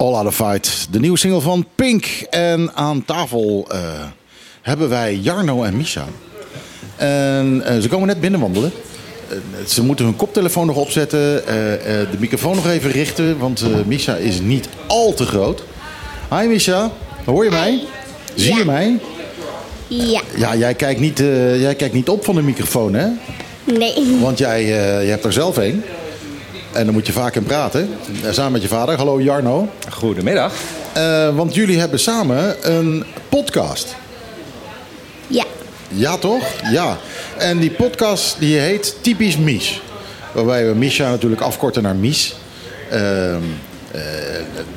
All Out of Fight, de nieuwe single van Pink. En aan tafel eh, hebben wij Jarno en Misha. En eh, ze komen net binnenwandelen. Eh, ze moeten hun koptelefoon nog opzetten, eh, eh, de microfoon nog even richten, want eh Misha is niet al te groot. Hi Misha, hoor je mij? Zie je Ja. mij? Ja, Ja, jij kijkt, niet, eh, jij kijkt niet op van de microfoon, hè? nee. Want jij eh, je hebt er zelf een. En dan moet je vaak in praten. Eh, Samen met je vader. Hallo Jarno. Goedemiddag. Eh, want jullie hebben samen een podcast. Ja, Ja, toch? Ja. En die podcast die heet Typisch Mies. Waarbij we Misha natuurlijk afkorten naar Mies. Ehm, eh,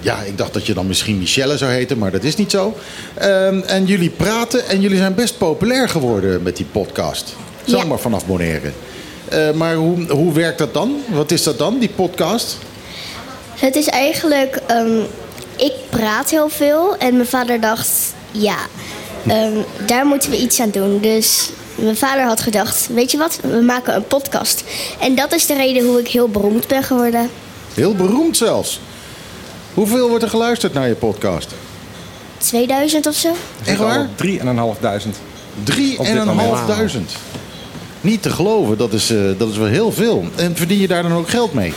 ja, ik dacht dat je dan misschien Michelle zou heten, maar dat is niet zo. Ehm, en jullie praten en jullie zijn best populair geworden met die podcast. Zomaar Ja. vanaf Bonaire. Eh, maar hoe, hoe werkt dat dan? Wat is dat dan, die podcast? het is eigenlijk... ehm, ik praat heel veel en mijn vader dacht... Ja, ehm, daar moeten we iets aan doen. Dus mijn vader had gedacht... Weet je wat, we maken een podcast. En dat is de reden hoe ik heel beroemd ben geworden. Heel beroemd zelfs. Hoeveel wordt er geluisterd naar je podcast? 2000 of zo? Echt waar? 3.500. Op dit moment. 3.500. Niet te geloven, dat is, eh, dat is wel heel veel. En verdien je daar dan ook geld mee?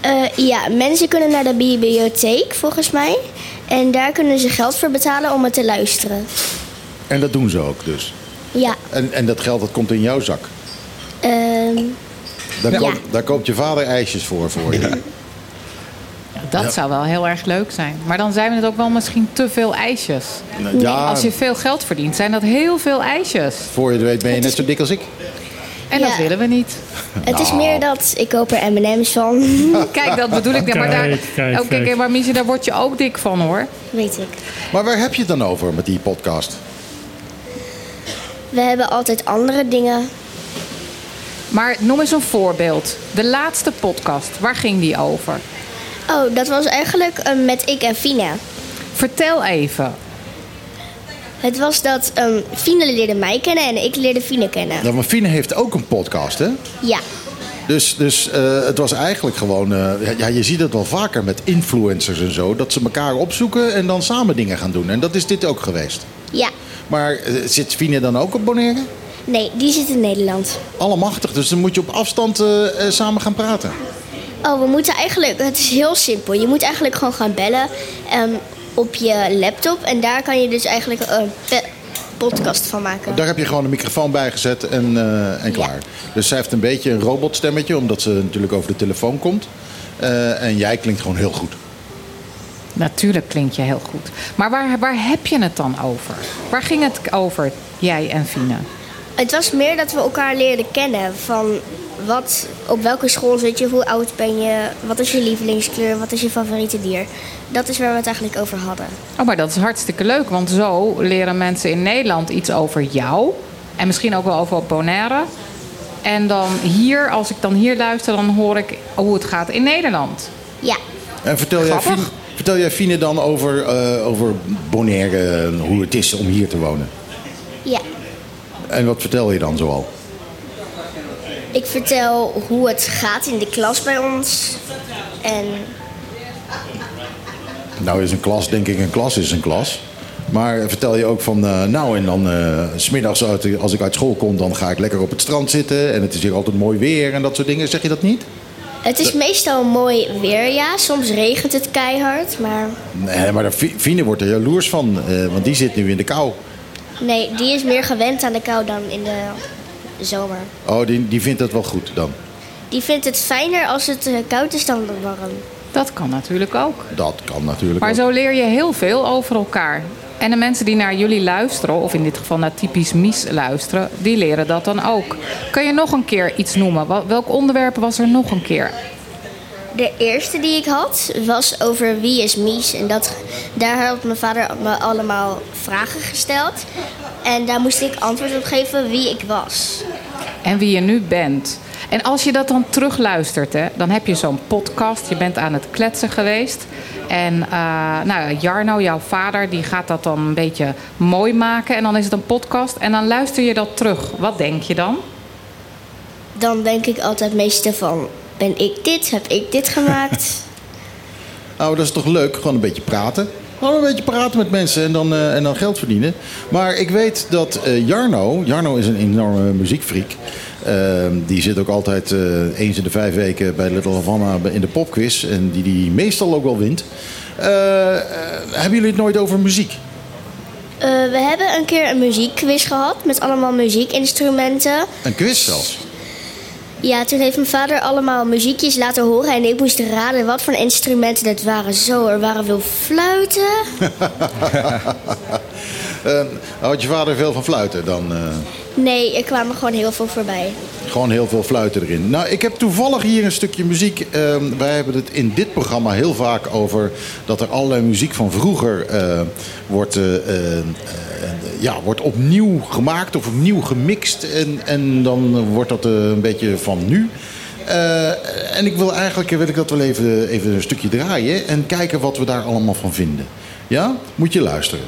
Eh, ja, mensen kunnen naar de bibliotheek volgens mij. En daar kunnen ze geld voor betalen om het te luisteren. En dat doen ze ook dus. Ja, En, en dat geld dat komt in jouw zak. ehm, Daar, Ja. koopt, daar koopt je vader ijsjes voor voor je. Dat zou wel heel erg leuk zijn. Maar dan zijn het ook wel misschien te veel ijsjes. Nou, Ja, Als je veel geld verdient, zijn dat heel veel ijsjes. voor je het weet ben je net zo dik als ik. En Ja. dat willen we niet. het is meer dat ik koop er M&M's van. Kijk, dat bedoel ik. maar daar, Kijk, kijk, oh, kijk, kijk. maar Miesje, daar word je ook dik van hoor. Weet ik. Maar waar heb je het dan over met die podcast? We hebben altijd andere dingen. Maar noem eens een voorbeeld. De laatste podcast, waar ging die over? Oh, dat was eigenlijk ehm, met ik en Fina. Vertel even. Het was dat ehm Fina leerde mij kennen en ik leerde Fina kennen. Nou, maar Fine heeft ook een podcast, hè? Ja, Dus, dus eh, het was eigenlijk gewoon... eh, ja, je ziet het wel vaker met influencers en zo. Dat ze elkaar opzoeken en dan samen dingen gaan doen. En dat is dit ook geweest. ja. Maar eh, zit Fine dan ook op Bonaire? Nee, die zit in Nederland. Allemachtig, dus dan moet je op afstand eh, eh, samen gaan praten. Oh, we moeten eigenlijk... Het is heel simpel. Je moet eigenlijk gewoon gaan bellen ehm, op je laptop. En daar kan je dus eigenlijk een pe- podcast van maken. Daar heb je gewoon een microfoon bij gezet en, eh, en klaar. Dus zij heeft een beetje een robotstemmetje, omdat ze natuurlijk over de telefoon komt. Eh, en jij klinkt gewoon heel goed. Natuurlijk klinkt je heel goed. Maar waar, waar heb je het dan over? Waar ging het over, jij en Fine? Het was meer dat we elkaar leerden kennen. Van wat, op welke school zit je, hoe oud ben je, wat is je lievelingskleur, wat is je favoriete dier. Dat is waar we het eigenlijk over hadden. Oh, maar dat is hartstikke leuk, want zo leren mensen in Nederland iets over jou. En misschien ook wel over Bonaire. En dan hier, als ik dan hier luister, dan hoor ik oh, hoe het gaat in Nederland. Ja, En vertel jij, Fine, Grappig. vertel jij Fine dan over, eh, over Bonaire, en hoe het is om hier te wonen? ja. En wat vertel je dan zoal? Ik vertel hoe het gaat in de klas bij ons. En Nou is een klas, denk ik, een klas is een klas. Maar vertel je ook van, eh, nou en dan eh, 's smiddags uit- als ik uit school kom, dan ga ik lekker op het strand zitten. En het is hier altijd mooi weer en dat soort dingen. Zeg je dat niet? het is meestal mooi weer, ja. Soms regent het keihard, maar Nee, maar daar- Fi- Fine wordt er jaloers van, eh, want die zit nu in de kou. nee, die is meer gewend aan de kou dan in de zomer. Oh, die, die vindt dat wel goed dan. Die vindt het fijner als het eh, koud is dan warm. Dat kan natuurlijk ook. Dat kan natuurlijk Maar ook. zo leer je heel veel over elkaar. En de mensen die naar jullie luisteren, of in dit geval naar typisch Mies luisteren, die leren dat dan ook. Kun je nog een keer iets noemen? Wel- Welk onderwerp was er nog een keer? De eerste die ik had was over wie is Mies. En dat, daar had mijn vader me allemaal vragen gesteld. En daar moest ik antwoord op geven wie ik was. En wie je nu bent. En als je dat dan terugluistert, hè, dan heb je zo'n podcast. Je bent aan het kletsen geweest. En eh, nou, ja, Jarno, jouw vader, die gaat dat dan een beetje mooi maken. En dan is het een podcast. En dan luister je dat terug. Wat denk je dan? Dan denk ik altijd meestal van, ben ik dit? Heb ik dit gemaakt? Oké, Nou, dat is toch leuk? Gewoon een beetje praten. Gewoon een beetje praten met mensen en dan, eh, en dan geld verdienen. Maar ik weet dat eh, Jarno... Jarno is een enorme muziekfreak. Ehm, die zit ook altijd eh, eens in de vijf weken bij Little Havana in de popquiz. En die die meestal ook wel wint. Eh, eh, hebben jullie het nooit over muziek? Eh, we hebben een keer een muziekquiz gehad met allemaal muziekinstrumenten. Een quiz zelfs? Ja, toen heeft mijn vader allemaal muziekjes laten horen en ik moest raden wat voor instrumenten dat waren. Zo, er waren veel fluiten. Eh, houdt je vader veel van fluiten dan? eh? Nee, er kwamen gewoon heel veel voorbij. Gewoon heel veel fluiten erin. Nou, ik heb toevallig hier een stukje muziek. Ehm, wij hebben het in dit programma heel vaak over dat er allerlei muziek van vroeger eh, wordt, eh, eh, eh, ja, wordt opnieuw gemaakt of opnieuw gemixt. En, en dan wordt dat eh, een beetje van nu. Eh, en ik wil eigenlijk eh, wil ik dat wel even, even een stukje draaien en kijken wat we daar allemaal van vinden. Ja? Moet je luisteren.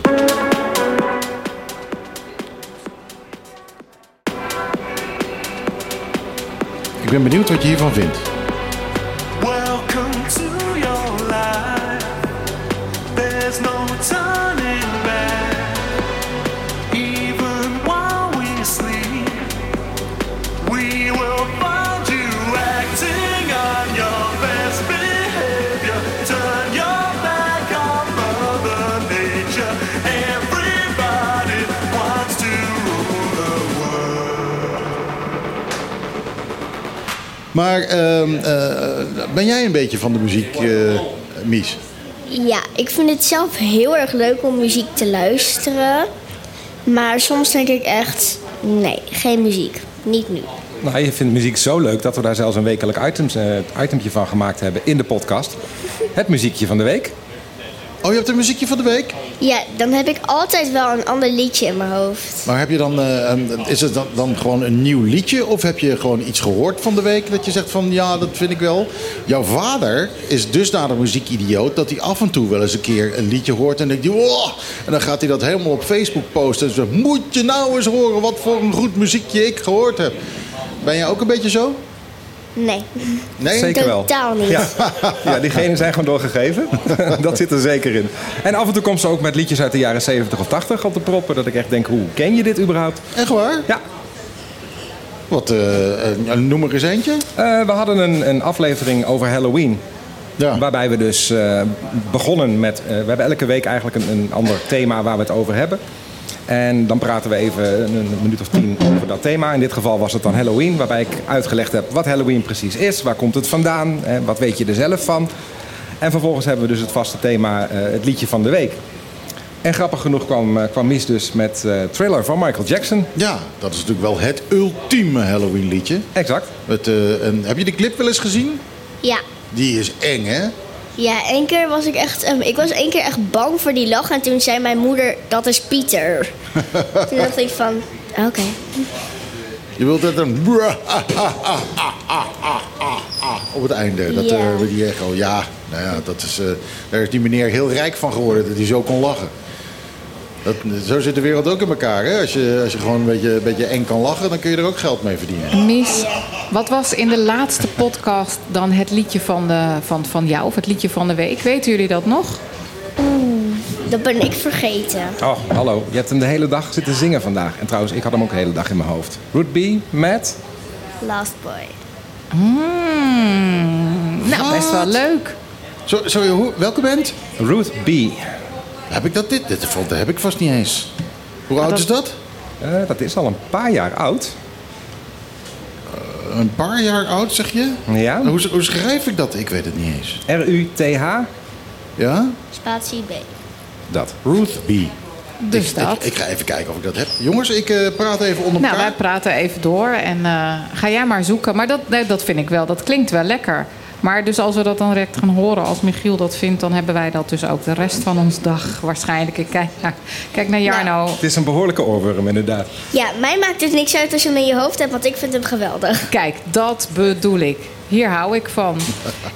Ik ben benieuwd wat je hiervan vindt. Welcome to your life. There's no turning back. Even while we sleep, we will find you acting on your best behavior. Turn your back on Mother Nature. Everybody wants to rule the world. Maar ehm, eh, ben jij een beetje van de muziek, eh, Mies? Ja, ik vind het zelf heel erg leuk om muziek te luisteren. Maar soms denk ik echt, nee, geen muziek. Niet nu. Nou, je vindt muziek zo leuk dat we daar zelfs een wekelijk items, eh, itempje van gemaakt hebben in de podcast. Het muziekje van de week. Oh, je hebt een muziekje van de week? Ja, dan heb ik altijd wel een ander liedje in mijn hoofd. Maar heb je dan, eh, een- is het dan, dan gewoon een nieuw liedje? Of heb je gewoon iets gehoord van de week dat je zegt van ja, dat vind ik wel. Jouw vader is dusdanig muziekidioot dat hij af en toe wel eens een keer een liedje hoort. En denkt hij, wow! En dan gaat hij dat helemaal op Facebook posten. En zegt, moet je nou eens horen wat voor een goed muziekje ik gehoord heb. Ben jij ook een beetje zo? Nee, Nee? Zeker. wel. totaal niet. Ja, ja diegenen zijn gewoon doorgegeven. dat zit er zeker in. En af en toe komt ze ook met liedjes uit de jaren 70 of 80 op de proppen. Dat ik echt denk, hoe ken je dit überhaupt? Echt waar? Ja, Wat, eh, eh, noem er eens eentje. eh, we hadden een, een aflevering over Halloween. Ja. Waarbij we dus eh, begonnen met. eh, we hebben elke week eigenlijk een, een ander thema waar we het over hebben. En dan praten we even een, een minuut of tien over dat thema. In dit geval was het dan Halloween, waarbij ik uitgelegd heb wat Halloween precies is, waar komt het vandaan, eh, wat weet je er zelf van. En vervolgens hebben we dus het vaste thema, eh, het liedje van de week. En grappig genoeg kwam, eh, kwam Mies dus met eh Thriller van Michael Jackson. Ja, dat is natuurlijk wel het ultieme Halloween liedje. Exact. Met, eh, een, heb je de clip wel eens gezien? Ja. Die is eng, hè? Ja, één keer was ik echt. ehm, ik was één keer echt bang voor die lach. En toen zei mijn moeder: Dat is Pieter. toen dacht ik van: Oké. Je wilt dat een... Op het einde, dat Ja. eh, die echo. Ja, nou ja, dat is, eh, daar is die meneer heel rijk van geworden dat hij zo kon lachen. Dat, zo zit de wereld ook in elkaar. Hè? Als, je, als je gewoon een beetje, een beetje eng kan lachen, dan kun je er ook geld mee verdienen. Mies, wat was in de laatste podcast dan het liedje van, de, van, van jou of het liedje van de week? Weten jullie dat nog? Dat ben ik vergeten. Oh, hallo. Je hebt hem de hele dag zitten zingen vandaag. En trouwens, ik had hem ook de hele dag in mijn hoofd. Root B met. Last Boy. Hmm, nou, best wel leuk. Zo, sorry, hoe, welke band? Root B. Heb ik dat dit? Dit vond- heb ik vast niet eens. Hoe oud dat- is dat? Eh, dat is al een paar jaar oud. Een paar jaar oud, zeg je? Ja. Hoe, hoe schrijf ik dat? Ik weet het niet eens. R-U-T-H. Ja? Spatie B. Dat. Ruth B. Dus Ik, dat. ik ga even kijken of ik dat heb. Jongens, ik eh, praat even onder Nou, elkaar. wij praten even door en eh, ga jij maar zoeken. Maar dat, nee, dat vind ik wel, dat klinkt wel lekker. Maar dus als we dat dan direct gaan horen, als Michiel dat vindt, dan hebben wij dat dus ook de rest van ons dag waarschijnlijk. Ik kijk naar, kijk naar Jarno. Het is een behoorlijke oorworm, inderdaad. Ja, mij maakt het niks uit als je hem in je hoofd hebt, want ik vind hem geweldig. Kijk, dat bedoel ik. Hier hou ik van.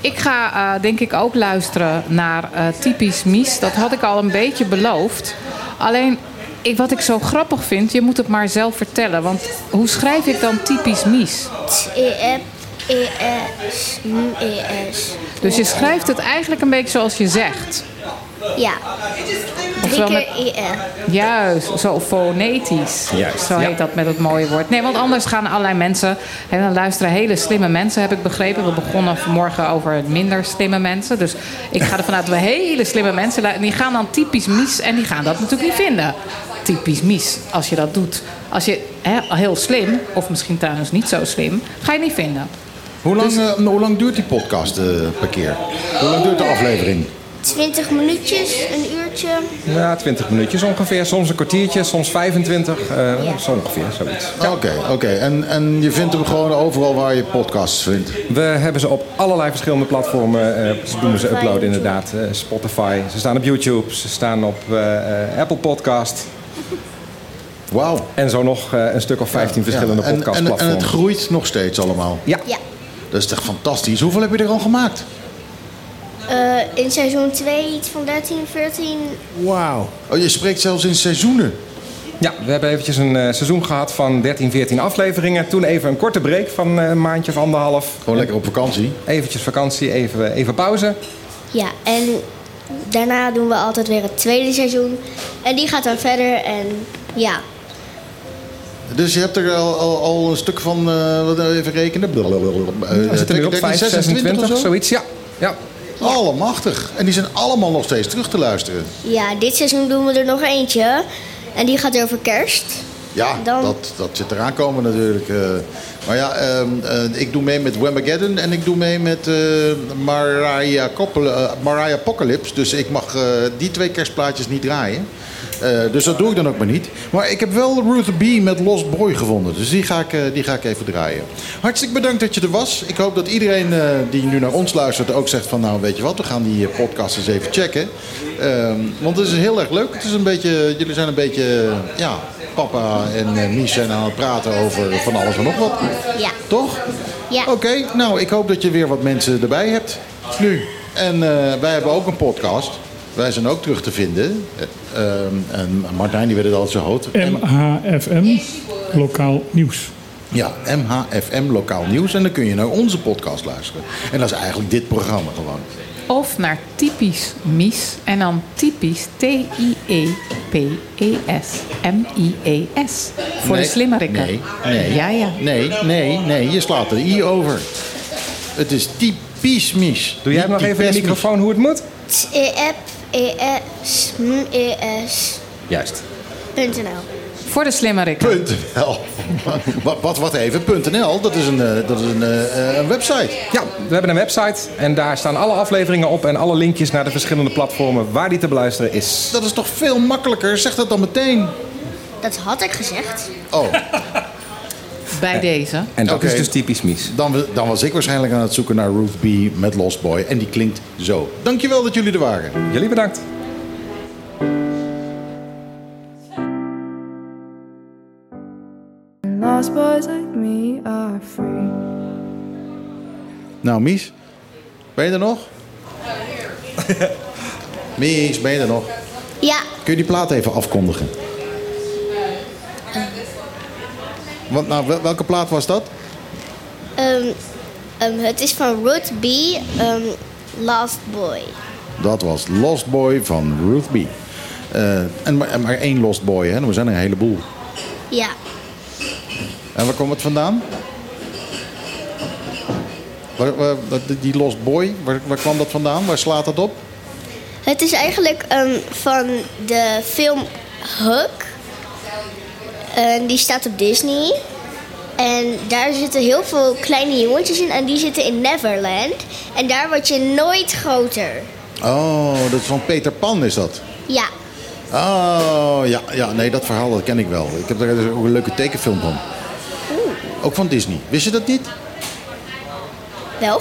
Ik ga eh, denk ik ook luisteren naar eh, Typisch Mies. Dat had ik al een beetje beloofd. Alleen, ik, wat ik zo grappig E vind, je moet het maar zelf vertellen. Want hoe schrijf ik dan Typisch Mies? T-E-P. E-S, M-E-S. Dus je schrijft het eigenlijk een beetje zoals je zegt. Ja, drie Ofwel met, keer E E-S. juist, zo fonetisch. Juist, zo ja. heet dat met het mooie woord. Nee, want anders gaan allerlei mensen, en dan luisteren hele slimme mensen, heb ik begrepen. We begonnen vanmorgen over minder slimme mensen. Dus ik ga ervan uit dat we hele slimme mensen lu- en Die gaan dan typisch mis en die gaan dat natuurlijk niet vinden. Typisch mis, als je dat doet. Als je hè, heel slim, of misschien trouwens niet zo slim, ga je niet vinden. Hoe lang, dus- eh, hoe lang duurt die podcast eh, per keer? Hoe lang duurt de aflevering? 20 minuutjes, een uurtje. Ja, 20 minuutjes ongeveer. Soms een kwartiertje, soms 25. eh, Zo ongeveer, zoiets. Oké, oké. En, en je vindt hem gewoon overal waar je podcasts vindt. We hebben ze op allerlei verschillende platformen. eh, ze doen ze uploaden inderdaad. Eh, Spotify. Ze staan op YouTube. Ze staan op eh, eh, Apple Podcast. Wauw. En zo nog eh, een stuk of 15 verschillende Ja, en- en, en, podcastplatformen. het groeit nog steeds allemaal. ja. Ja. Dat is toch fantastisch. Hoeveel heb je er al gemaakt? Eh, in seizoen 2 iets van 13, 14. Nou. Wauw. Oh, je spreekt zelfs in seizoenen. ja, we hebben eventjes een eh, seizoen gehad van 13, 14 afleveringen. Toen even een korte break van eh, een maandje of anderhalf. Gewoon lekker op vakantie. Eventjes vakantie, even, even pauze. Ja, en daarna doen we altijd weer het tweede seizoen. En die gaat dan verder en ja. Dus je hebt er al, al, al een stuk van, eh, wat even rekenen. Blablabla. Eh, We zitten nu op 5, 26, zoiets. Ja. ja. Allemachtig. En die zijn allemaal nog steeds terug te luisteren. Ja, dit seizoen doen we er nog eentje. En die gaat over kerst. Ja, Dan- dat, dat zit eraan komen natuurlijk. eh. maar ja, ehm, eh, ik doe mee met Whamageddon en ik doe mee met eh Mariah, Koppel, eh, Mariah Apocalypse. Dus ik mag eh, die twee kerstplaatjes niet draaien. Eh, dus dat doe ik dan ook maar niet. Maar ik heb wel Ruth B. met Lost Boy gevonden. Dus die ga, ik, eh, die ga ik even draaien. Hartstikke bedankt dat je er was. Ik hoop dat iedereen eh, die nu naar ons luistert ook zegt van... nou, weet je wat, we gaan die eh, podcast eens even checken. Ehm, want het is heel erg leuk. Het is een beetje, jullie zijn een beetje... eh, ja, papa en eh, Mies zijn aan het praten over van alles en nog wat. Ja. Toch? Ja. Oké, nou, ik hoop dat je weer wat mensen erbij hebt nu. En eh, wij hebben ook een podcast. Wij zijn ook terug te vinden. Eh, ehm, en Martijn, die werd het altijd zo hoog. MHFM, lokaal nieuws. Ja, MHFM Lokaal Nieuws. En dan kun je naar onze podcast luisteren. En dat is eigenlijk dit programma gewoon. Of naar typisch Mies en dan typisch E T-I-E-P-E-S-M-I-E-S. E Voor Nee, de slimmerikken. Nee, nee. Ja, ja. Nee, nee, nee. Je slaat de i over. Het is typisch mis. Doe jij hem nog even in de microfoon hoe het moet? e E-S, M-E-S, Juist. .nl. Voor de slimmerikken. Punt NL. wat, wat, wat even? Punt NL, dat is een, eh, dat is een, eh, eh, een website. Ja, we hebben een website en daar staan alle afleveringen op en alle linkjes naar de verschillende platformen waar die te beluisteren is. Dat is toch veel makkelijker? Zeg dat dan meteen. Dat had ik gezegd. Oh, Bij deze. En dat Oké. is dus typisch Mies. dan, wa- dan was ik waarschijnlijk aan het zoeken naar Ruth B. met Lost Boy. En die klinkt zo. Dankjewel dat jullie er waren. Jullie bedankt. Lost boys like me are free. Nou, Mies, ben je er nog? Mies, ben je er nog? Ja, Kun je die plaat even afkondigen? Want, nou, wel- welke plaat was dat? ehm, ehm, het is van Ruth B. ehm, Last Boy. Dat was Lost Boy van Ruth B. Eh, en maar, en maar één Lost Boy, hè? Er zijn er een heleboel. Ja, En waar komt het vandaan? Waar, waar- dat- die Lost Boy, waar, waar kwam dat vandaan? Waar slaat dat op? het is eigenlijk ehm, van de film Hook. En die staat op Disney. En daar zitten heel veel kleine jongetjes in. En die zitten in Neverland. En daar word je nooit groter. Oh, dat is van Peter Pan, is dat? Ja, Oh, ja, ja, nee, dat verhaal dat ken ik wel. Ik heb daar dus ook een leuke tekenfilm van. Ook van Disney. Wist je dat niet? wel.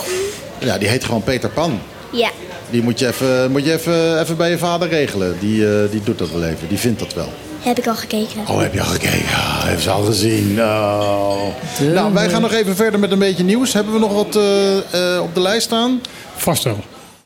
Ja, die heet gewoon Peter Pan. Ja, Die moet je even, moet je even, even bij je vader regelen. Die, eh, die doet dat wel even. Die vindt dat wel. heb ik al gekeken. Oh, heb je al gekeken? Ah, heeft ze al gezien? Oh. Nou, wij gaan nog even verder met een beetje nieuws. Hebben we nog wat eh, eh, op de lijst staan? Vast wel.